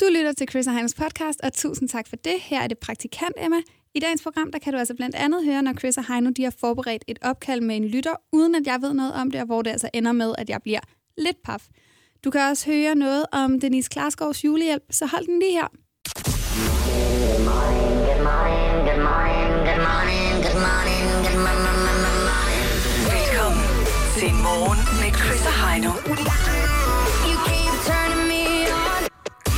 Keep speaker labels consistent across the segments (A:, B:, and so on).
A: Du lytter til Chris og Heinos podcast, og tusind tak for det. Her er det praktikant Emma. I dagens program, der kan du altså blandt andet høre, når Chris og Heino de har forberedt et opkald med en lytter, uden at jeg ved noget om det, og hvor det altså ender med, at jeg bliver lidt paf. Du kan også høre noget om Denise Klarskovs julehjælp, så hold den lige her.
B: Good morning, good morning, good morning, good morning, good morning.
C: Velkommen til Morgen med Chris og Heino.
B: You keep turning me on.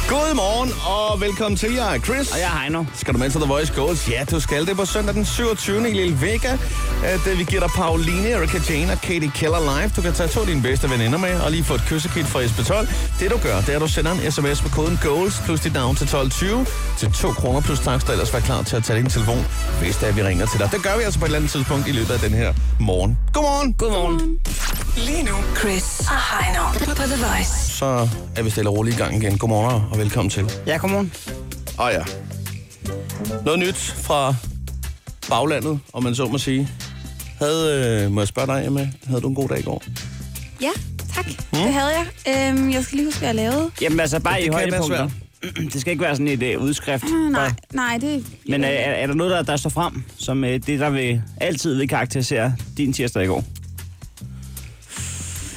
D: Godmorgen og velkommen til jer, Chris.
E: Og jeg er Heino.
D: Skal du med til The Voice Goals? Ja, du skal. Det er på søndag den 27. i Lille Vega, at øh, vi giver dig Pauline, Erika Jane og Katie Keller live. Du kan tage to af dine bedste veninder med og lige få et kyssekit fra SB12. Det du gør, det er, at du sender en sms med koden GOALS plus dit navn til 1220 til 2 kroner plus takst, og ellers vær klar til at tage din telefon, hvis det er, vi ringer til dig. Det gør vi altså på et eller andet tidspunkt i løbet af den her morgen. Godmorgen.
E: Godmorgen.
C: Lige nu, Chris og Heino på The Voice.
D: Så er vi stille og roligt i gang igen. Godmorgen og velkommen til.
E: Ja, godmorgen.
D: Åh oh, ja. Noget nyt fra baglandet, om man så må sige. Havde, øh, må jeg spørge dig, Emma, havde du en god dag i går?
A: Ja, tak. Mm. Det havde jeg. Øhm, jeg skal lige huske, hvad jeg lavede.
E: Jamen altså, bare
D: Det
E: i
D: kan være
E: højdepunkter. Det skal ikke være sådan et øh, udskrift.
A: Mm, Nej,
E: Bare-
A: nej, det...
E: Men øh, er, er der noget, der, der står frem, som øh, det, der vil, altid vil karakterisere din tirsdag i går?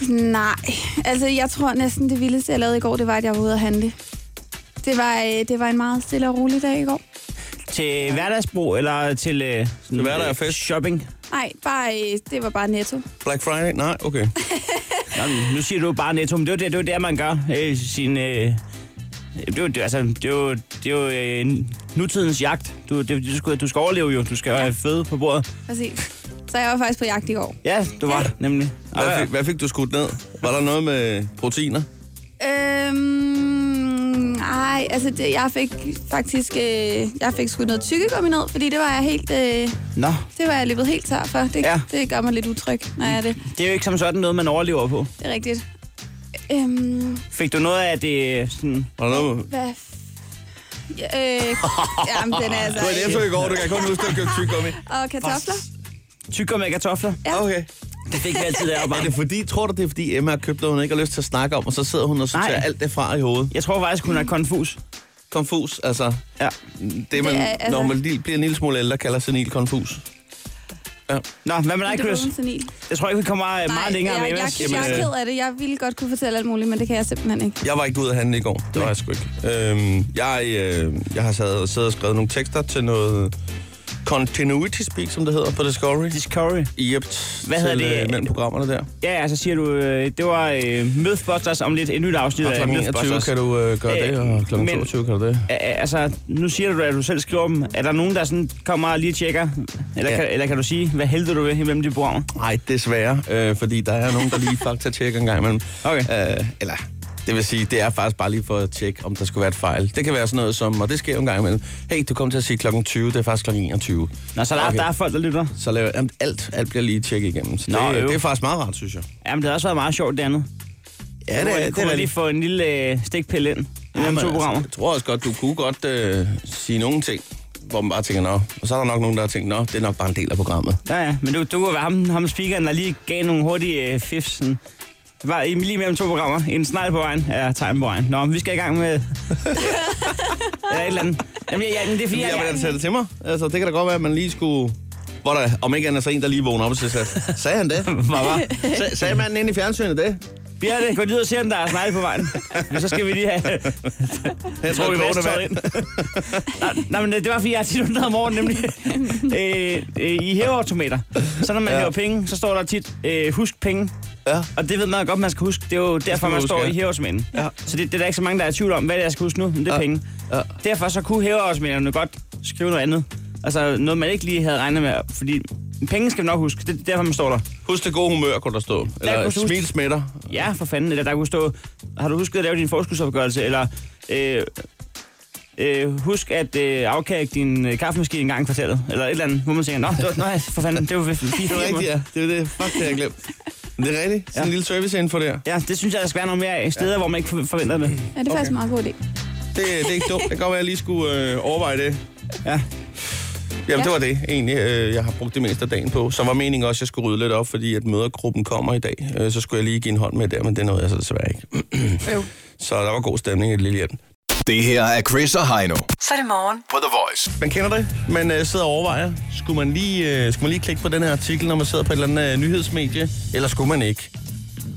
A: Nej, altså jeg tror næsten det vildeste, jeg lavede i går, det var, at jeg var ude at handle. Det var, øh, det var en meget stille og rolig dag i går.
E: Til hverdagsbrug eller til, øh, sådan,
D: hverdag og
E: øh,
D: fest.
E: shopping?
A: Nej, bare, øh, det var bare netto.
D: Black Friday? Nej, okay.
E: Nå, men nu siger du bare netto, men det er jo det, det, er jo det man gør. Øh, sin, øh, det er jo, det, altså, det er jo, det er jo øh, nutidens jagt. Du, det, du, skal, du skal overleve jo. Du skal have føde på bordet.
A: Præcis. Så jeg var faktisk på jagt i går.
E: Ja, du var nemlig.
D: Hvad fik, hvad fik du skudt ned? Var der noget med proteiner?
A: Øhm, nej, altså det, jeg fik faktisk øh, jeg fik skudt noget tykkegummi ned, fordi det var jeg helt, øh,
E: Nå,
A: det var jeg løbet helt tør for. Det, ja.
E: Ja.
A: det gør mig lidt utryg, når jeg er det.
E: det er jo ikke som sådan noget, man overlever på.
A: Det er rigtigt. Øhm,
E: Fik du noget af det øh, sådan...
D: Var der noget med...
A: hvad... F- ja, øh, jamen, den er altså...
D: Du var i Netto i går, du kan kun huske, at du købte tyggegummi.
A: Og kartofler?
E: Tykker med kartofler?
A: Ja.
D: Okay.
E: Det fik vi altid
D: Er
E: deroppe.
D: det fordi, tror du, det er fordi Emma har købt noget, hun ikke har lyst til at snakke om, og så sidder hun og
E: Nej.
D: sorterer alt det fra i hovedet?
E: Jeg tror faktisk, hun er konfus.
D: Konfus, altså
E: Ja.
D: det, man, det
A: er,
D: er,
A: altså-
D: altså... når man lille- bliver en lille smule ældre, kalder senil konfus.
E: Nå, hvad med dig,
A: Det var
E: Chris?
A: hun senil.
E: Jeg tror ikke, vi kommer øh, meget længere med
A: jeg, jeg,
E: Emmas.
A: jeg, jeg er ked af det. Jeg ville godt kunne fortælle alt muligt, men det kan jeg simpelthen ikke.
D: Jeg var ikke ude at handle i går. Det var jeg sgu ikke. Øhm, jeg, øh, jeg har sad, siddet og skrevet nogle tekster til noget continuity speak, som det hedder på Discovery.
E: Discovery.
D: Yep,
E: Hvad hedder
D: til,
E: det?
D: Øh, mellem programmerne der.
E: Ja, ja, så siger du, øh, det var øh, Mythbusters om lidt et nyt afsnit
D: Og
E: af
D: kl. 21
E: Mythbusters.
D: kan du øh, gøre
E: Øh,
D: det, og kl.
E: men-
D: 22 kan du det.
E: Æ, altså, nu siger du, at du selv skriver dem. Er der nogen, der sådan kommer og lige tjekker? Eller,
D: Ja.
E: ja. kan, eller kan du sige, hvad helvede du ved imellem de programmer?
D: Nej, desværre, øh, fordi der er nogen, der lige faktatjekker en gang imellem.
E: Okay.
D: Øh, eller, det vil sige, det er faktisk bare lige for at tjekke, om der skulle være et fejl. Det kan være sådan noget som, og det sker jo en gang imellem. Hey, du kom til at sige klokken 20, det er faktisk klokken 21.
E: Nå, så der, okay. der er folk, der lytter.
D: Så laver, jamen, alt, alt bliver lige tjekket igennem. Så
E: Nå,
D: det,
E: øv.
D: det, er faktisk meget rart, synes jeg.
E: Jamen, det har også været meget sjovt, det andet.
D: Ja,
E: kunne,
D: det,
E: man-
D: er- det,
E: kunne
D: er
E: man lige
D: rigtigt.
E: få en lille øh, stikpille ind imellem
D: Jamen,
E: to
D: altså,
E: programmer?
D: Jeg tror også godt, du kunne godt øh, sige nogle ting, hvor man bare tænker, nå. Og så er der nok nogen, der har tænkt, nå, det er nok bare en del af programmet.
E: Ja, ja, men du, du kunne være ham, ham speakeren, der lige gav nogle hurtige øh, fifs. Sådan. Det var i- lige mellem to programmer. En snegl på vejen, ja, tegn på vejen. Nå, men vi skal i gang med... eller et eller andet. Jamen, ja, ja, men det er fordi,
D: Ja,
E: jeg,
D: ja.
E: jeg,
D: Jamen, det til mig. Altså, det kan da godt være, at man lige skulle... Hvor der, om ikke andet, så en, der lige vågner op og siger, sagde han det?
E: Hvad var?
D: Sag, sagde manden inde i fjernsynet det?
E: Bjørn, gå lige ud og se, om der er snegle på vejen. Men så skal vi lige have...
D: Jeg
E: Tror vi vågner ind. nej, nej, men det det var, fordi jeg har tit undret om morgenen, nemlig. øh, øh, I hæveautomater. Så når man
D: Ja.
E: hæver penge, så står der tit, øh, husk penge.
D: Ja.
E: Og det ved man godt, man skal huske. Det er jo derfor,
D: man
E: man
D: huske,
E: står
D: ja.
E: i hæveautomaten.
D: Ja.
E: Så det, det er der ikke så mange, der er i tvivl om, hvad det er, jeg skal huske nu. Men det er
D: Ja.
E: penge.
D: Ja.
E: Derfor så kunne hæveautomaterne godt skrive noget andet. Altså noget, man ikke lige havde regnet med. Fordi penge skal vi nok huske. Det er derfor, man står der.
D: Husk det gode humør, kunne der stå. Eller
E: kunne
D: ja,
E: du huske-
D: smil smitter.
E: Ja, for fanden. Eller der kunne stå, har du husket at lave din forskudsopgørelse? Eller øh, øh, husk at øh, afkage din øh, kaffemaskine en gang i kvartalet. Eller et eller andet, hvor man tænker, nå, det var, nej, for fanden, det var fint.
D: Det er rigtigt, ja. Det er det. Fuck, det har jeg glemt. Men det er rigtigt. Sådan en
E: Ja.
D: lille serviceinfo der.
E: Ja, det synes jeg, der skal være noget mere af. Steder, ja. hvor man ikke for- forventer det.
A: Ja, det er okay. faktisk en meget god idé.
D: Det, det er ikke dumt. Det kan godt være, at jeg lige skulle øh, overveje det.
E: Ja.
D: Jamen,
A: Ja.
D: ja. det var det egentlig, øh, jeg har brugt det meste af dagen på. Så var meningen også, at jeg skulle rydde lidt op, fordi at mødergruppen kommer i dag. Øh, så skulle jeg lige give en hånd med der, men det nåede jeg så desværre ikke.
A: Jo.
D: Så der var god stemning i det lille hjem.
F: Det her er Chris og Heino
C: Så er det morgen.
F: på The Voice.
D: Man kender det. Man øh, sidder og overvejer, skulle man, lige, øh, skulle man lige klikke på den her artikel, når man sidder på et eller andet øh, nyhedsmedie, eller skulle man ikke?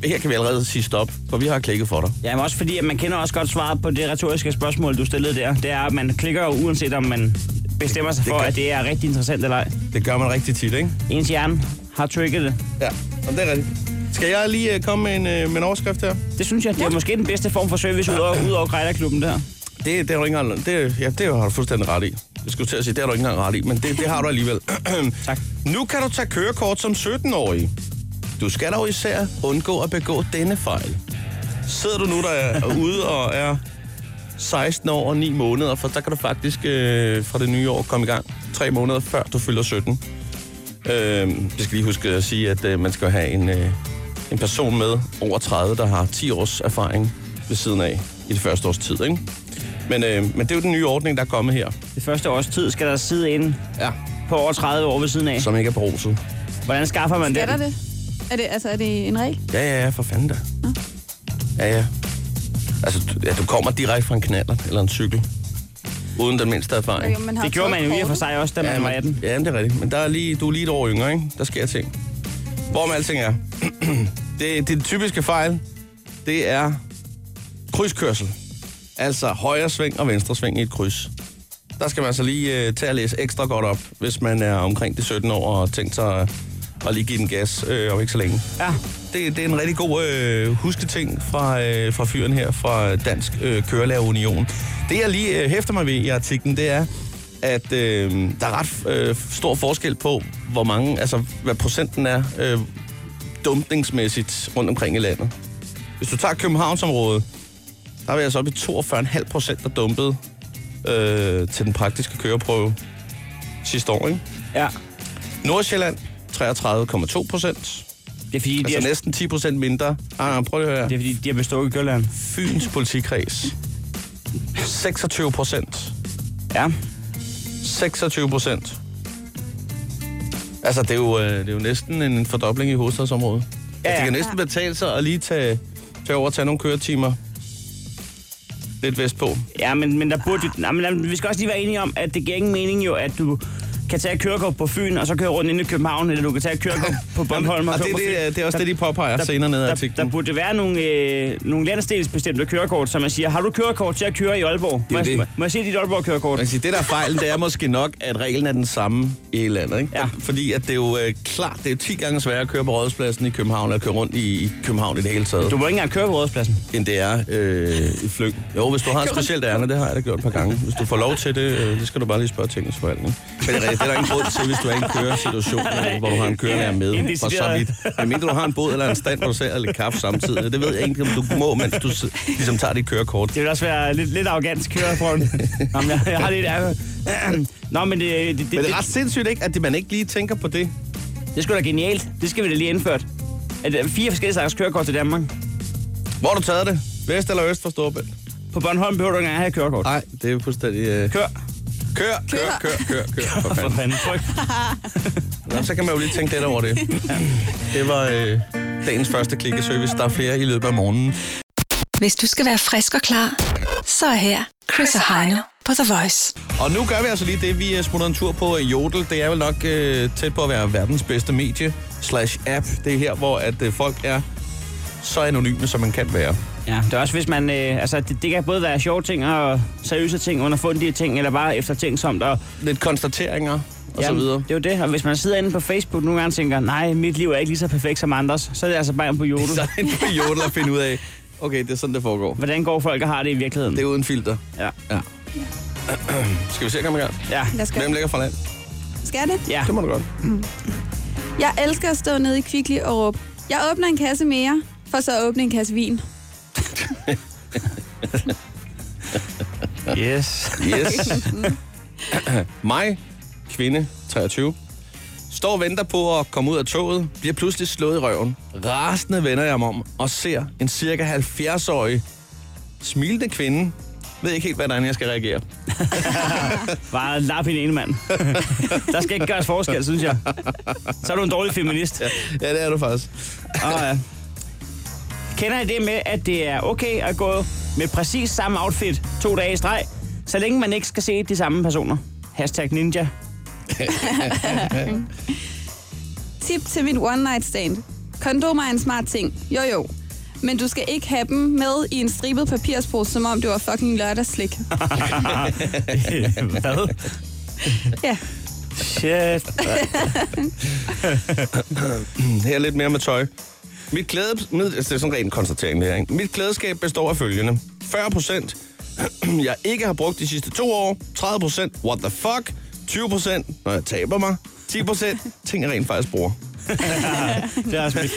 D: Her kan vi allerede sige stop, for vi har klikket for dig.
E: Ja, men også fordi, at man kender også godt svaret på det retoriske spørgsmål, du stillede der. Det er, at man klikker jo uanset om man bestemmer sig
D: Det
E: for,
D: gør-
E: at det er rigtig interessant eller ej.
D: Det gør man rigtig tit, ikke?
E: Ens hjerne har trigget det.
D: Ja, og det er rigtigt. Skal jeg lige øh, komme med en, øh, med en overskrift her?
E: Det synes jeg, det er måske den bedste form for service ud over, ud over Grejlerklubben der.
D: Det, det har du ikke engang... Det, ja, det har du fuldstændig ret i. Jeg skulle til at sige, det har du ikke engang ret i, men det, det har du alligevel.
E: Tak.
D: Nu kan du tage kørekort som 17-årig. Du skal dog især undgå at begå denne fejl. Sidder du nu der er ude og er 16 år og 9 måneder, for der kan du faktisk øh, fra det nye år komme i gang. 3 måneder før du fylder 17. Øh, jeg skal lige huske at sige, at øh, man skal have en, øh, en person med over 30, der har 10 års erfaring ved siden af i det første års tid. Ikke? Men, øh, men det er jo den nye ordning, der er kommet her.
E: Det første års tid skal der sidde ind
D: Ja.
E: på over 30 år ved siden af.
D: Som ikke er beruset.
E: Hvordan skaffer man
A: Skal
E: den?
A: der det? Er det, altså, er det en regel?
D: Ja, ja, ja, for fanden da. Ja, ja. Altså, du, ja, du kommer direkte fra en knaller eller en cykel. Uden den mindste erfaring.
A: Okay, man har
E: Det gjorde man jo i og for sig også, da man
D: ja,
E: var
D: men-
E: 18.
D: Ja, men det er rigtigt. Men der er lige, du er lige et år yngre, ikke? Der sker ting. Hvor med alting er. det, det typiske fejl, det er krydskørsel. Altså højre sving og venstre sving i et kryds. Der skal man altså lige øh, tage og læse ekstra godt op, hvis man er omkring de 17 år og tænkt sig at, at lige give den gas øh, om ikke så længe.
E: Ja,
D: Det, det er en rigtig god øh, husketing fra, øh, fra fyren her fra Dansk øh, Kørelærer Union. Det, jeg lige øh, hæfter mig ved i artiklen, det er, at øh, der er ret øh, stor forskel på, hvor mange, altså hvad procenten er øh, dumpningsmæssigt rundt omkring i landet. Hvis du tager Københavnsområdet, der er vi altså oppe i 42,5 procent, der dumpede øh, til den praktiske køreprøve sidste år. Ikke?
E: ja.
D: Nordsjælland, 33,2 procent.
E: Det er fordi, de,
D: Altså
E: er,
D: næsten 10 procent mindre. Ah, nej, prøv lige at høre. her.
E: det er, fordi, de er bestukket i Gølland.
D: Fyns politikreds. 26 procent.
E: Ja.
D: 26 procent. Altså, det er, jo, øh, det er jo næsten en fordobling i hovedstadsområdet. Ja,
E: Ja,
D: ja. Det
E: ja.
D: kan næsten betale sig at lige tage, tage over og tage nogle køretimer lidt vestpå.
E: Ja, men, men der burde jo... Nej, men, jamen, vi skal også lige være enige om, at det giver ingen mening jo, at du kan tage et kørekort på Fyn, og så køre rundt inde i København, eller du kan tage et kørekort på Bornholm.
D: Og
E: køre
D: det,
E: på Fyn.
D: det, er- det er også
E: Der-
D: det, de påpeger
E: der,
D: senere ned i
E: der,
D: artiklen.
E: der burde være nogle, øh, nogle landsdelsbestemte kørekort, som man siger, har du kørekort til at køre i Aalborg?
D: er
E: Må,
D: det.
E: jeg, må jeg se dit
D: Man
E: Aalborg-kørekort?
D: kan sige, det der er fejlen, det er måske nok, at reglen er den samme i hele landet. Ikke?
E: Ja.
D: Fordi at det er jo øh, klart, det er jo 10 gange sværere at køre på rådspladsen i København, eller at køre rundt i, i København i det hele taget,
E: Du
D: du...
E: må ikke engang køre på rådspladsen.
D: end det er øh, i flyng. Jo, hvis du har et specielt ærne, det har jeg da gjort et par gange. Hvis du får lov til det, øh, det skal du bare lige spørge tingens forvaltning. Men det er, rigtigt, det er der ingen grund til, hvis du er i en køresituation, øh, hvor du har en kørelærer
E: En
D: med, for
E: decideret-
D: så vidt. Men mindre du har en båd eller en stand, hvor du sælger lidt kaffe samtidig. Det ved jeg ikke, om du må, mens du sid- ligesom tager dit kørekort.
E: Det vil også være lidt, lidt arrogant køre foran. Nå, men jeg, jeg har lidt... Øh, Nå, men det, det,
D: Men
E: det,
D: det
E: det,
D: er ret sindssygt, ikke, at det- man ikke lige tænker på det.
E: det er sgu da genialt. Det skal vi da lige indført. At der er fire forskellige slags kørekort til Danmark.
D: Hvor har du taget det? Vest eller øst for Storebælt?
E: På Bornholm behøver du ikke engang have kørekort.
D: Nej, det er jo fuldstændig... Øh...
E: Kør.
D: Kør, kør, kør, kør, kør, for
E: For
D: fanden.
E: fanden. Tryk.
D: Nå, så kan man jo lige tænke lidt over det. Det var øh, dagens første klikkeservice. Der er flere i løbet af morgenen.
C: Hvis du skal være frisk og klar, så er her Chris og Heino på The Voice.
D: Og nu gør vi altså lige det, vi øh, smutter en tur på øh, Jodel. Det er vel nok øh, tæt på at være verdens bedste medie slash app. Det er her, hvor at øh, folk er så anonyme, som man kan være.
E: Ja, det er også hvis man... Øh, altså, det, det, kan både være sjove ting og seriøse ting, underfundige ting, eller bare eftertænksomt. Og,
D: Lidt konstateringer og så
E: Jamen,
D: videre.
E: Det er jo det. Og hvis man sidder inde på Facebook nogle gange og tænker, nej, mit liv er ikke lige så perfekt som andres, så er det altså bare ind på jorden.
D: Så er det på Jodel at finde ud af, okay, det er sådan, det foregår.
E: Hvordan går folk og har det i virkeligheden?
D: Det er uden filter.
E: Ja.
D: Ja. Skal vi se at komme i gang?
E: Ja.
A: Lad os gøre
D: Hvem
A: det.
D: ligger fra land?
A: Skal det?
E: ja.
D: Det må du godt.
A: Jeg elsker at stå nede i Kvickly og råbe, jeg åbner en kasse mere, for så at åbne en kasse vin.
E: Yes.
D: Yes. Mig, kvinde, 23, står og venter på at komme ud af toget, bliver pludselig slået i røven. Rasende vender jeg mig om og ser en cirka 70-årig smilende kvinde. Ved ikke helt, hvordan jeg skal reagere.
E: Bare lap i den ene mand. Der skal ikke gøres forskel, synes jeg. Så er du en dårlig feminist. Ja.
D: Ja,
E: Ah,
D: det er du faktisk.
E: Og, uh, kender I det med, at det er okay at gå med præcis samme outfit to dage i streg, så længe man ikke skal se de samme personer. Hashtag ninja.
A: Tip til mit one night stand. Kondomer er en smart ting. Jo jo. Men du skal ikke have dem med i en stribet papirspose, som om det var fucking lørdagsslik.
E: Hvad?
A: Ja.
E: Shit.
D: Her lidt mere med tøj. Mit klæde... Mit, altså, det er sådan en ren konstatering, det her. Ikke? Mit klædeskab består af følgende. 40 procent, jeg ikke har brugt de sidste to år. 30 procent, what the fuck. 20 procent, når jeg taber mig. 10 procent, ting jeg rent faktisk bruger.
E: Det er også mit.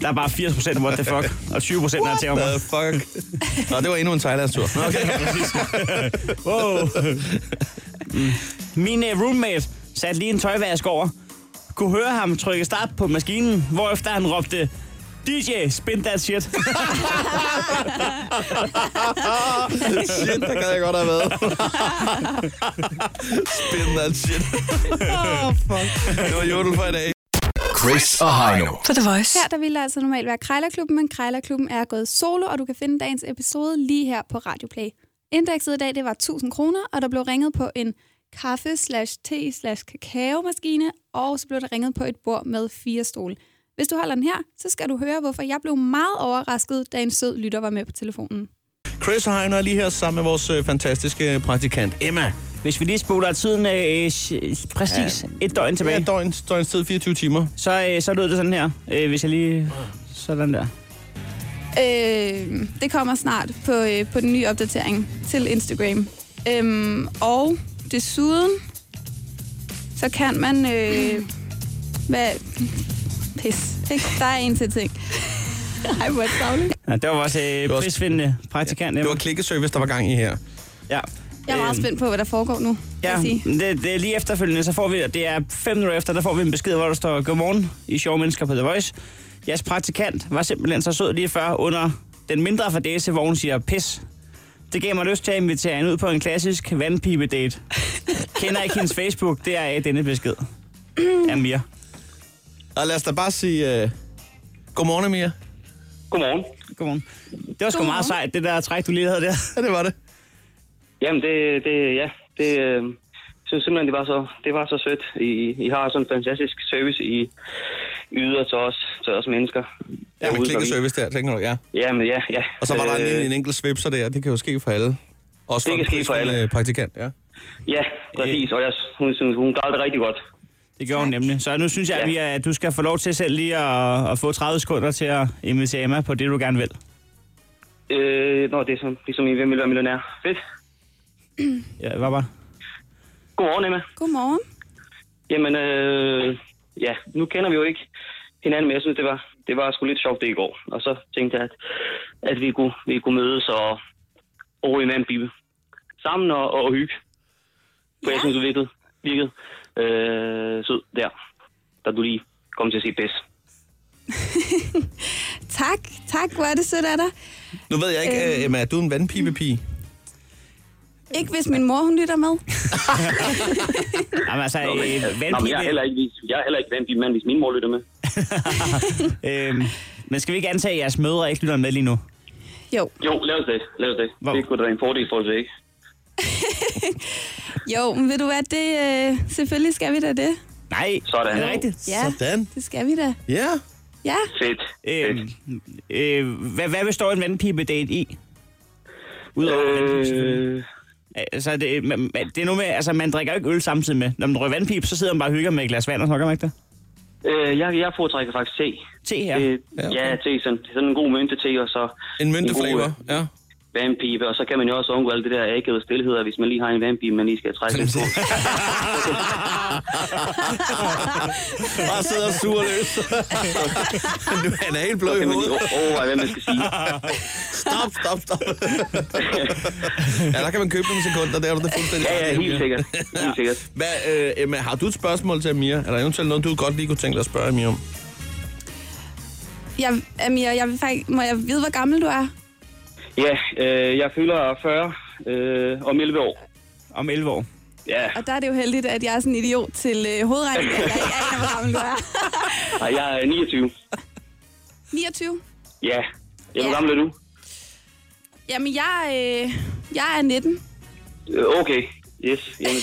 E: Der er bare 80 procent, what the fuck, og 20 procent, når jeg tager mig.
D: What the fuck. Nå, det var endnu en Thailandstur. Okay.
E: Wow. Mm. Min øh, roommate satte lige en tøjvask over. Kunne høre ham trykke start på maskinen, hvorefter han råbte, DJ, spin that shit.
D: shit, der gad jeg godt have været. Spin that shit.
A: Oh, fuck.
D: Det var jodel for i dag.
F: Chris og Heino.
C: På The Voice.
A: Her der ville det altså normalt være Krejlerklubben, men Krejlerklubben er gået solo, og du kan finde dagens episode lige her på Radio Play. Indekset i dag det var 1000 kroner, og der blev ringet på en kaffe slash te slash kakaomaskine, og så blev der ringet på et bord med fire stole. Hvis du holder den her, så skal du høre, hvorfor jeg blev meget overrasket, da en sød lytter var med på telefonen.
D: Chris og Heino er lige her sammen med vores øh, fantastiske praktikant Emma.
E: Hvis vi lige spoler tiden øh, øh, præcis ja. et døgn
D: Ja,
E: tilbage,
D: døgn, døgn tid 24 timer.
E: så, øh, så lød det sådan her. Øh, hvis jeg lige... Sådan der.
A: Øh, det kommer snart på, øh, på den nye opdatering til Instagram. Øhm, og desuden, så kan man... Øh, hvad? Pis. Ikke? Der er en til ting. Ej, hvor er det savligt.
E: Ja, det var vores øh,
D: var-
E: prisvindende praktikant.
D: Det
E: Emma.
D: var klikkeservice, der var gang i her.
E: ja.
A: Jeg er meget
E: Øhm,
A: spændt på, hvad der foregår nu. Ja.
E: Ja,
A: Jeg sige.
E: det, det er lige efterfølgende, så får vi, det er fem minutter efter, der får vi en besked, hvor der står, Godmorgen, I sjove mennesker på The Voice. Jeres praktikant var simpelthen så sød lige før under den mindre fordæse, hvor hun siger pis. Det gav mig lyst til at invitere hende ud på en klassisk vandpipe-date. Kender ikke hendes Facebook, det er af denne besked. Amir.
D: Og lad os da bare sige... Uh... Godmorgen, Amir.
G: Godmorgen.
E: Godmorgen. Det var sgu
A: Godmorgen.
E: meget sejt, det der træk, du lige havde der.
D: Ja, det var det.
G: Jamen, det, det ja, det, øh, synes simpelthen, det var så, det var så sødt. I, I har sådan en fantastisk service, I yder til os, til os mennesker.
D: Ja, med
G: Derude, som I-
D: klikkeservice der, tænker du, ja.
G: Jamen, ja, ja.
D: Og så var der en,
G: Øh,
D: lille- en enkelt svipser der, det kan jo ske for alle. Også for
G: Det
D: en
G: kan ske for
D: prisvindende
G: alle.
D: praktikant, ja.
G: Ja, præcis. Og jeg, hun, synes, hun klarede det rigtig godt.
E: Det gjorde hun nemlig. Så nu synes jeg,
G: Ja.
E: Amir, at du skal få lov til selv lige at, at få 30 sekunder til at invitere Emma på det, du gerne vil.
G: Øh, nå, det er sådan, ligesom I hvem vil være millionær. Fedt.
E: Ja, hvad var
G: Godmorgen, Emma.
A: Godmorgen.
G: Jamen, øh, ja, nu kender vi jo ikke hinanden, men jeg synes, det var, det var sgu lidt sjovt det i går. Og så tænkte jeg, at, at vi, kunne, vi kunne mødes og over i en anden bibe. Sammen og, og hygge. For ja. jeg synes, du virkede, virkede øh, sød der, da du lige kom til at sige pis.
A: Tak, tak. Hvor er det sødt af dig.
D: Nu ved jeg ikke, øh... Emma, er du en vandpipepige?
A: Ikke hvis min mor, hun lytter med.
E: Jamen altså,
G: Nå, men,
E: øh,
G: Nå, men jeg er heller
E: vandpibe,
G: ikke, vis- jeg er heller ikke vandpige mand, hvis min mor lytter med.
E: øh, men skal vi ikke antage, at jeres mødre ikke lytter med lige nu?
A: Jo,
G: Jo, lad os det. Lad os det.
E: Hvor-
G: Det kunne da være en fordel for os, ikke?
A: jo. Men ved du hvad, det, øh, selvfølgelig skal vi da det.
E: Nej,
G: Sådan.
E: er det rigtigt?
A: Ja,
D: Sådan.
A: det skal vi da.
D: Ja.
A: Ja.
G: Fedt. Fedt.
E: Øh, øh, hvad, hvad består en vandpipe-date i? Udover øh... vandpipe, selvfølgelig.
G: Øh,
E: Altså, det, man, man- det er nu med, altså, man drikker jo ikke øl samtidig med. Når man drikker vandpipe, så sidder man bare og hygger med et glas vand, og så gør man ikke det?
G: øh, jeg, jeg foretrækker faktisk te.
E: Te her.
G: Ja,
E: Øh...
G: øh, ja, okay. ja te, sådan, sådan en god mynte te, og så
D: En
G: god,
D: mynteflavor,
G: øh,
D: ja.
G: vandpibe, og så kan man jo også undgå alt det der ægget stillheder, hvis man lige har en vandpibe, man lige skal trække lidt på.
D: Bare sidder og suger løs. nu, han er helt blå
G: Så
D: i
G: kan man lige
D: hovedet.
G: o- overveje, hvad man skal sige.
D: Stop, stop, stop. ja, der kan man købe nogle sekunder, der er du det fuldstændig.
G: Ja, ja, helt sikkert. Helt sikkert.
D: Hvad, øh, Emma, har du et spørgsmål til Amir? Er der eventuelt noget, du godt lige kunne tænke dig at spørge Amir om?
A: Jeg, Amir, jeg vil faktisk, må jeg vide, hvor gammel du er?
G: Ja, øh, jeg fylder 40 øh, om 11 år.
E: Om 11 år.
G: Ja,
A: Og der er det jo heldigt, at jeg er sådan en idiot til øh, hovedregning, at jeg ikke aner, hvor gammel du er.
G: og jeg er 29.
A: 29.
G: Ja. Ja, hvor
A: Ja.
G: gammel er du?
A: Jamen, jeg, øh, jeg er 19.
G: Øh, Okay, yes. Jamen,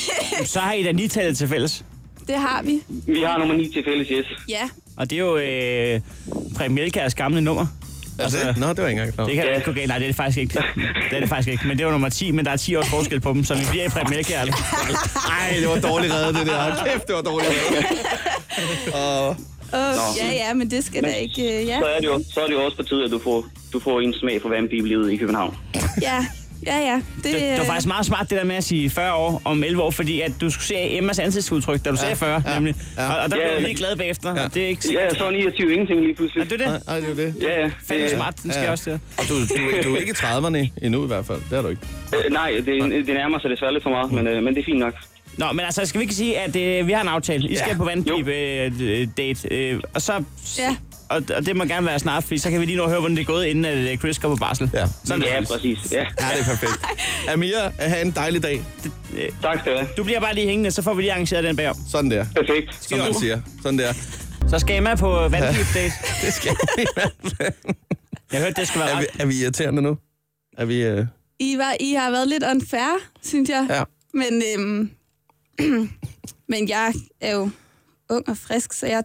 E: Så har I da lige tallet til fælles.
A: Det har vi.
G: vi har nummer 9 til fælles, yes.
A: Ja.
E: Og det er jo øh, Præm Melkærs gamle nummer.
D: Altså, det? Nå, det var ikke engang klar.
E: Det kan jo ikke gå galt. Nej, det er det faktisk ikke. Det er det faktisk ikke. Men det var nummer 10, men der er 10 års forskel på dem, så vi bliver i Præm Melkær.
D: Ej, det var dårligt reddet, det der. Hold Kæft, det var dårligt reddet. Og
A: Oh, ja, ja, men det skal da ikke... Øh, ja.
G: Så er, det jo, så er det jo også på tide, at du får, du får en smag for vampibelivet i København.
A: ja, ja, ja. Det,
E: Det, det var
A: øh,
E: faktisk meget smart, det der med at sige 40 år om 11 år, fordi at du skulle se Emmas ansigtsudtryk, da du sagde 40, nemlig.
D: ja.
E: Og, og der
G: Ja.
E: blev jeg lige glad bagefter.
D: Ja.
E: Det er ikke...
G: Ja, så er 29 ingenting lige
E: Er
G: pludselig.
E: det det?
D: Nej, det er jo det.
G: Ja, ja.
E: Fanden smart, den skal
D: Ja.
E: ja. også der.
D: Og du, du, du er ikke i 30'erne endnu i hvert fald. Det er du ikke.
G: Øh, nej, det, det nærmer sig desværre lidt for meget, men, øh, men det er fint nok.
E: Nå, men altså, skal vi ikke sige, at øh, vi har en aftale? I skal på vandpipe-date, øh, og så...
A: Ja.
E: Og, og det må gerne være snart, fordi så kan vi lige nå at høre, hvordan det er gået, inden at øh, Chris går på barsel.
D: Ja.
E: Sådan
G: Ja,
E: er det.
G: præcis. Ja.
D: Ja, det er perfekt. Amir, have en dejlig dag.
G: Tak skal du have.
E: Du bliver bare lige hængende, så får vi lige arrangeret den bagom.
D: Sådan der,
G: Perfekt.
D: som man siger. Sådan der.
E: Så skal Emma på vandpipe-date.
D: Det skal vi i hvert fald.
E: Jeg hørte, det skal være
D: Er vi,
E: ret.
D: er vi irriterende nu? Er vi... Øh...
A: I, var, I har været lidt unfair, synes jeg.
D: Ja.
A: Men, øhm, men jeg er jo ung og frisk, så jeg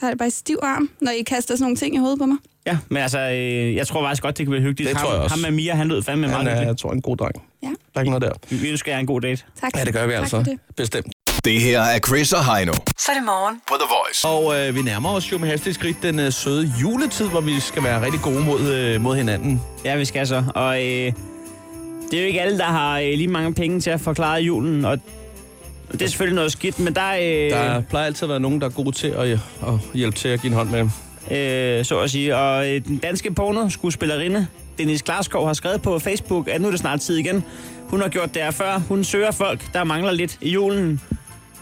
A: tager det bare i stiv arm, når I kaster sådan nogle ting i hovedet på mig.
E: Ja, men altså, øh, jeg tror faktisk godt, det kan blive hyggeligt.
D: Det tror jeg
E: ham,
D: også.
E: Ham med Mia, han lød fandme
D: Han
E: meget
D: er,
E: hyggeligt.
D: jeg tror, en god dreng.
A: Ja,
D: Der er ikke noget der.
E: Vi ønsker jer en god date.
A: tak.
D: Ja, det gør vi
A: tak
D: altså.
A: For det.
D: Bestemt.
F: Det her er Chris og Heino
C: Så er det morgen.
F: på The Voice.
D: Og øh, vi nærmer os jo med hastigt skridt den øh, søde juletid, hvor vi skal være rigtig gode mod, øh, mod hinanden.
E: Ja, vi skal så. Og øh, det er jo ikke alle, der har øh, lige mange penge til at forklare julen, og det er selvfølgelig noget skidt, men der, øh,
D: Der plejer altid at være nogen, der er gode til at, øh, at hjælpe til at give en hånd med.
E: øh, så at sige. Og øh, den danske pornoskuespillerinde, Dennis Klarskov, har skrevet på Facebook, at nu er det snart tid igen. Hun har gjort det her før. Hun søger folk, der mangler lidt i julen,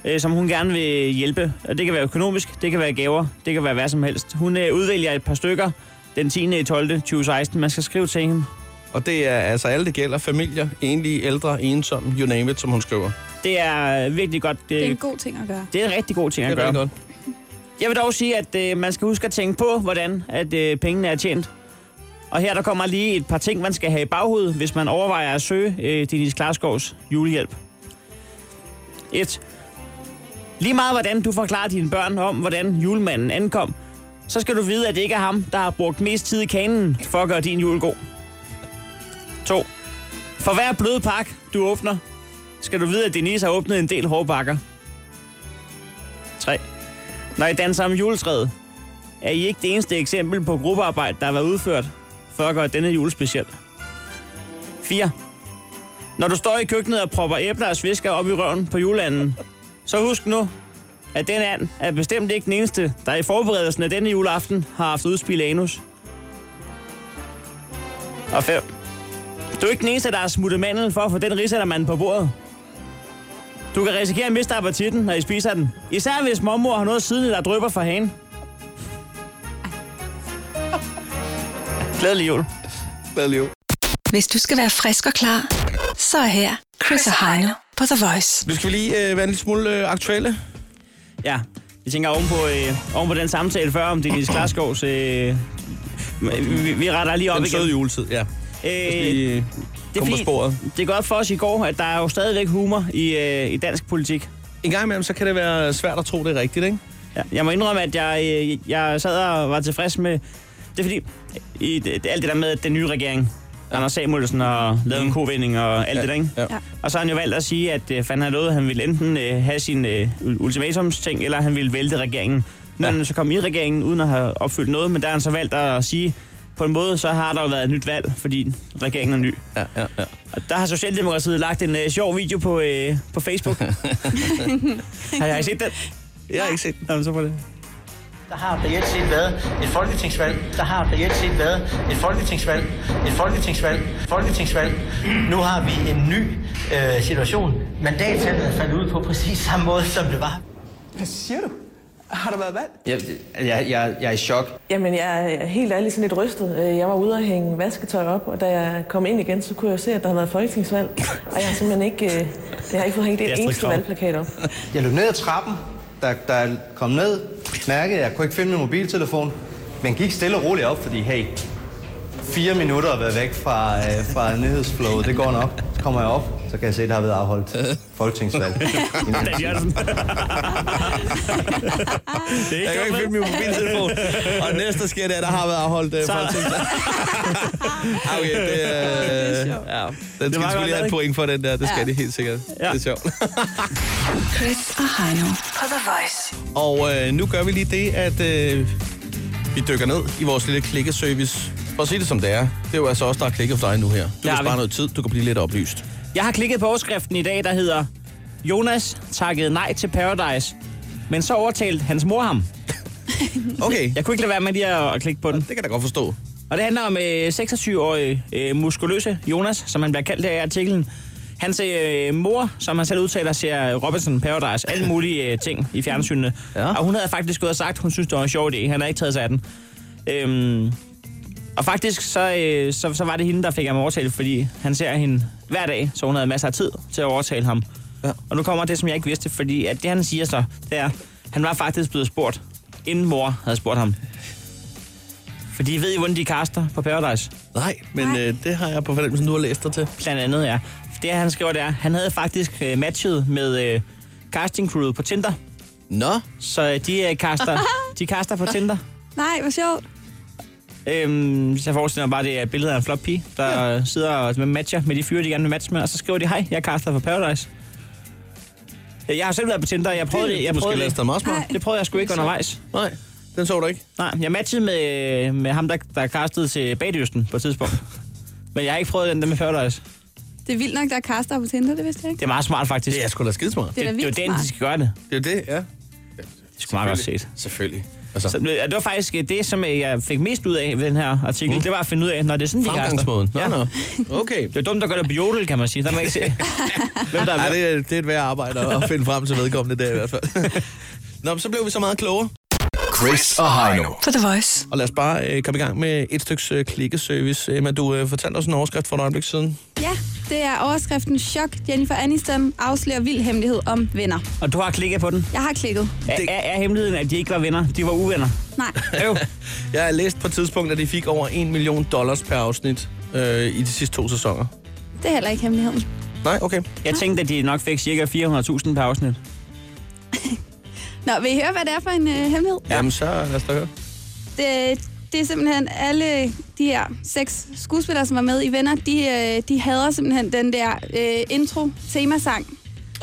E: øh, som hun gerne vil hjælpe. Og det kan være økonomisk, det kan være gaver, det kan være hvad som helst. Hun øh, udvælger et par stykker den 10. i 12. 2016. Man skal skrive til hende.
D: Og det er altså alle, det gælder. Familier, enlige, ældre, ensomme, you name it, som hun skriver.
E: Det er øh, virkelig godt.
A: Det er
E: Øh,
A: en god ting at gøre.
E: det er en rigtig god ting
D: Det
E: at
D: er rigtig
E: gøre.
D: godt.
E: Jeg vil dog sige, at øh, man skal huske at tænke på, hvordan at øh, pengene er tjent. Og her der kommer lige et par ting, man skal have i baghovedet, hvis man overvejer at søge øh, Dennis Klarskovs julehjælp. 1. Lige meget hvordan du forklarer dine børn om, hvordan julemanden ankom, så skal du vide, at det ikke er ham, der har brugt mest tid i kanen for at gøre din jul god. 2. For hver blød pakke, du åbner, skal du vide, at Denise har åbnet en del hårbakker. 3. Når I danser om juletræet, er I ikke det eneste eksempel på gruppearbejde, der har været udført, for at gøre denne jul speciel. 4. Når du står i køkkenet og propper æbler og svisker op i røven på juleanden, så husk nu, at den and er bestemt ikke den eneste, der i forberedelsen af denne juleaften har haft udspil af anus. Og 5. Du er ikke den eneste, der har smuttet mandel for at få den risaldermand på bordet. Du kan risikere at miste appetitten, når I spiser den. Især hvis mormor har noget siden, der drøber fra hagen. Glædelig jul.
D: Glædelig jul.
C: Hvis du skal være frisk og klar, så er her Chris og Heino på The Voice.
D: Nu skal vi lige øh, være en lille smule øh, aktuelle.
E: Ja, jeg tænker ovenpå, øh, ovenpå den samtale før om Dennis Klarskovs... Øh, vi, vi retter lige op
D: Den
E: igen.
D: søde juletid, ja.
E: Øh,
D: Vi øh,
E: det, er
D: kommer på
E: fint.
D: sporet.
E: det er godt for os i går, at der er jo stadigvæk humor i, øh, i dansk politik.
D: En gang imellem, så kan det være svært at tro, det er rigtigt, ikke?
E: Ja, jeg må indrømme, at jeg, øh, jeg sad og var tilfreds med... Det er fordi, i, det, alt det der med at den nye regering, Anders Samuelsen og lavet en kovending og alt Mm-hmm. ja. det der, ikke?
D: Ja.
A: Ja.
E: Og så har han jo valgt at sige, at øh, fanden har lovet, at han ville enten øh, have sin øh, ultimatumsting, eller han ville vælte regeringen. Nu ja.
D: Ja.
E: han så kom i regeringen, uden at have opfyldt noget, men der har han så valgt at sige, på en måde, så har der jo været et nyt valg, fordi regeringen er ny.
D: Ja, ja, ja.
E: Og der har Socialdemokratiet lagt en øh, sjov video på, øh, på Facebook. har jeg set den?
D: Jeg har ikke set
E: Nå, men så var det.
H: Der har reelt set været et folketingsvalg. Der har reelt set været et folketingsvalg. Et folketingsvalg. Folketingsvalg. Nu har vi en ny øh, situation. Mandattallet er faldet ud på præcis samme måde, som det var.
I: Hvad siger du? Har der været valg?
J: Jeg, jeg, jeg, jeg er i chok.
K: Jamen, jeg er helt ærligt sådan lidt rystet. Øh, Jeg var ude og hænge vasketøj op, og da jeg kom ind igen, så kunne jeg jo se, at der havde været folketingsvalg. Og jeg har simpelthen ikke, øh, jeg har ikke fået hængt
E: er
K: et
E: Astrid
K: eneste
E: Krag.
K: valgplakat op.
J: Jeg løb ned ad trappen, der, der kom ned, knækkede, jeg kunne ikke finde min mobiltelefon, men gik stille og roligt op, fordi hey, fire minutter og været væk fra, øh, fra nyhedsflowet. Det går nok. Så kommer jeg op, så kan jeg se, at der har været afholdt folketingsvalg.
D: Dan Jørgensen. Jeg kan ikke finde min mobiltelefon. Og næste der sker det, at der har været afholdt øh,
E: Så-
D: folketingsvalg. Okay, det, øh, ja, den skal
E: meget
D: det skulle
E: godt
D: lige have
E: lavet,
D: et point for den der. Det skal
C: Ja.
D: ja. de helt sikkert. Ja. Det er sjovt.
C: Chris og Heino på The Voice.
D: Og øh, nu gør vi lige det, at øh, vi dykker ned i vores lille klikkeservice. For at sige det som det er, det er jo altså også der har klikket for dig nu her. Du
E: har
D: kan spare
E: vi.
D: noget tid, du kan blive lidt oplyst.
E: Jeg har klikket på overskriften i dag, der hedder Jonas takkede nej til Paradise, men så overtalte hans mor ham.
D: Okay.
E: Jeg kunne ikke lade være med lige at, at klikke på den. Det
D: kan jeg da godt forstå.
E: Og det handler om øh, 26-årige øh, muskuløse Jonas, som han bliver kaldt her i artiklen. Hans øh, mor, som han selv udtaler, ser Robinson Paradise, alle mulige øh, ting i fjernsynene. Ja. Og hun havde faktisk gået og sagt, hun synes, det var en sjov idé. Han havde ikke taget sig af den. Øhm, og faktisk, så, øh, så, så var det hende, der fik ham overtalt, fordi han ser hende hver dag, så hun havde masser af tid til at overtale ham. Ja. Og nu kommer det, som jeg ikke vidste, fordi at det, han siger så, det er, han var faktisk blevet spurgt, inden mor havde spurgt ham. Fordi ved I, hvordan de kaster på Paradise?
D: Nej, men Øh, det har jeg på fornemmelsen, du har læst dig til.
E: Blandt andet, ja. Det, han skriver, det er, han havde faktisk øh, matchet med øh, casting crewet på Tinder.
D: Nå.
E: Så øh, de, øh, kaster, de kaster på Tinder.
A: Nej, hvor sjovt.
E: Øhm, så jeg forestiller mig bare, det er et billede af en flot pige, der ja. sidder og matcher med de fyre, de gerne vil matche med, og så skriver de, hej, jeg er Carsten fra Paradise. Øh, Jeg har selv været på Tinder, jeg prøvede
D: Det-
E: det. Jeg
D: måske
E: prøvede
D: lader sig meget smart. Nej.
E: det prøvede jeg sgu ikke undervejs.
D: Nej, den så du ikke.
E: Nej, jeg matchede med, øh, med ham, der, der kastede til Bagdysten på et tidspunkt. Men jeg har ikke prøvet den der med Paradise.
A: Det er vildt nok, der er kaster på Tinder, det vidste jeg ikke.
E: Det er meget smart, faktisk. Det
D: er sgu da skidesmart.
A: Det er da
E: det,
A: vildt
E: det er jo den,
A: smart.
E: de skal gøre det.
D: Det er det, ja. Det
E: skulle meget godt set.
D: Selvfølgelig.
E: Så, øh, det var faktisk øh, det, som øh, jeg fik mest ud af ved den her artikel. Mm. Det var at finde ud af, når det er sådan, de kaster.
D: Fremgangsmåden. Nå, nå. Okay.
E: Det er dumt at gøre det på jodel, kan man sige. Der må man ikke se. Hvem der er
D: Ej, det, er- det er et værd arbejde at finde frem til vedkommende der i hvert fald. Nå, men så blev vi så meget klogere.
F: Chris og Heino.
C: På The Voice.
D: Og lad os bare øh, komme i gang med et stykke øh, klikkeservice. Emma, du øh, fortalte os en overskrift for et øjeblik siden.
A: Ja, det er overskriften Chok. Jennifer Aniston afslører vild hemmelighed om venner.
E: Og du har klikket på den?
A: Jeg har klikket.
E: Er, er, er hemmeligheden, at de ikke var venner? De var uvenner?
A: Nej.
E: Øv.
D: Jeg har læst på et tidspunkt, at de fik over 1 million dollars per afsnit øh, i de sidste to sæsoner.
A: Det er heller ikke hemmeligheden.
D: Nej, okay.
E: Jeg tænkte, at de nok fik cirka 400.000 per afsnit.
A: Nå, vil I høre, hvad det er for en øh, hemmelighed?
D: Jamen, så lad os da høre.
A: Det, det er simpelthen alle de her seks skuespillere, som var med i Venner, de, øh, de hader simpelthen den der øh, intro-temasang.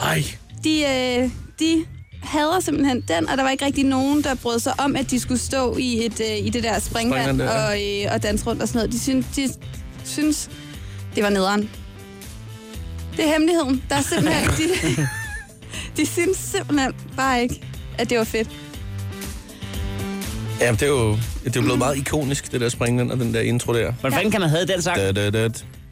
D: Ej.
A: De, øh, de hader simpelthen den, og der var ikke rigtig nogen, der brød sig om, at de skulle stå i, et, øh, i det der springvand
D: Springvand der,
A: og, øh, og danse rundt og sådan noget. De synes, de synes det var nederen. Det er hemmeligheden. Der er simpelthen... De, de synes simpelthen bare ikke, at det var fedt.
D: Ja, det er jo det er jo blevet meget ikonisk, det der springvand og den der intro der.
E: Hvordan kan man have den sang?
D: Da, da, da,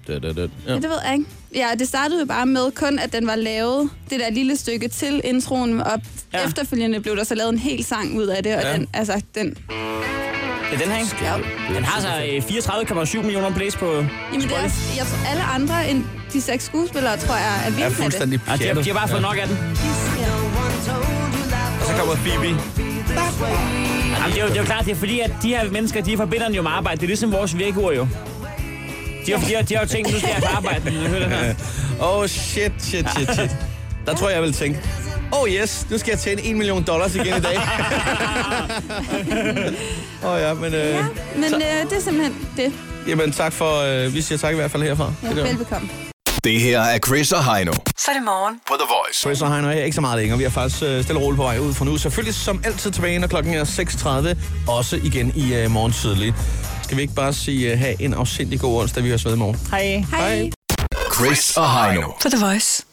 D: da, da, da.
A: Ja.
D: Ja.
A: ja, det ved jeg ikke. Ja, det startede jo bare med kun, at den var lavet, det der lille stykke til introen, og ja. efterfølgende blev der så lavet en hel sang ud af det, og
E: Ja.
A: ja. den, altså, den...
E: Det er den her, ikke? Ja. Den har så øh, 34,7 millioner plays på
A: Jamen, det er,
E: Spotify.
A: også- jeg tror, alle andre end de seks skuespillere, tror jeg, er vildt med det.
E: Ja, de, har, de har bare fået
D: Ja.
E: nok af den.
D: Og så kommer Phoebe.
E: Jamen, det, er jo, det er jo klart, det er fordi, at de her mennesker, de forbinder den jo med arbejde. Det er ligesom vores virkeord jo. De har, de har, de har jo tænkt, nu skal jeg på arbejde. når jeg hører den her.
D: Åh, oh, shit, shit, shit, shit. Der tror jeg, jeg vil tænke, oh yes, nu skal jeg tjene 1 million dollars igen i dag. Åh oh, ja, men... Øh, ja.
A: Men øh, det er simpelthen det.
D: Jamen tak for... Øh, vi siger tak i hvert fald herfra.
A: Ja,
D: Det der.
A: velbekomme.
F: Det her er Chris og Heino.
C: Så er det morgen.
F: På The Voice.
D: Chris og Heino er ikke så meget længere. Vi er faktisk øh, stille og roligt på vej ud for nu. Selvfølgelig som altid tilbage, når klokken er 6.30. Også igen i øh, morgen tidlig. Skal vi ikke bare sige, øh, have en afsindig god onsdag. Vi høres ved i morgen.
E: Hej.
A: Hej.
F: Chris og Heino.
C: På The Voice.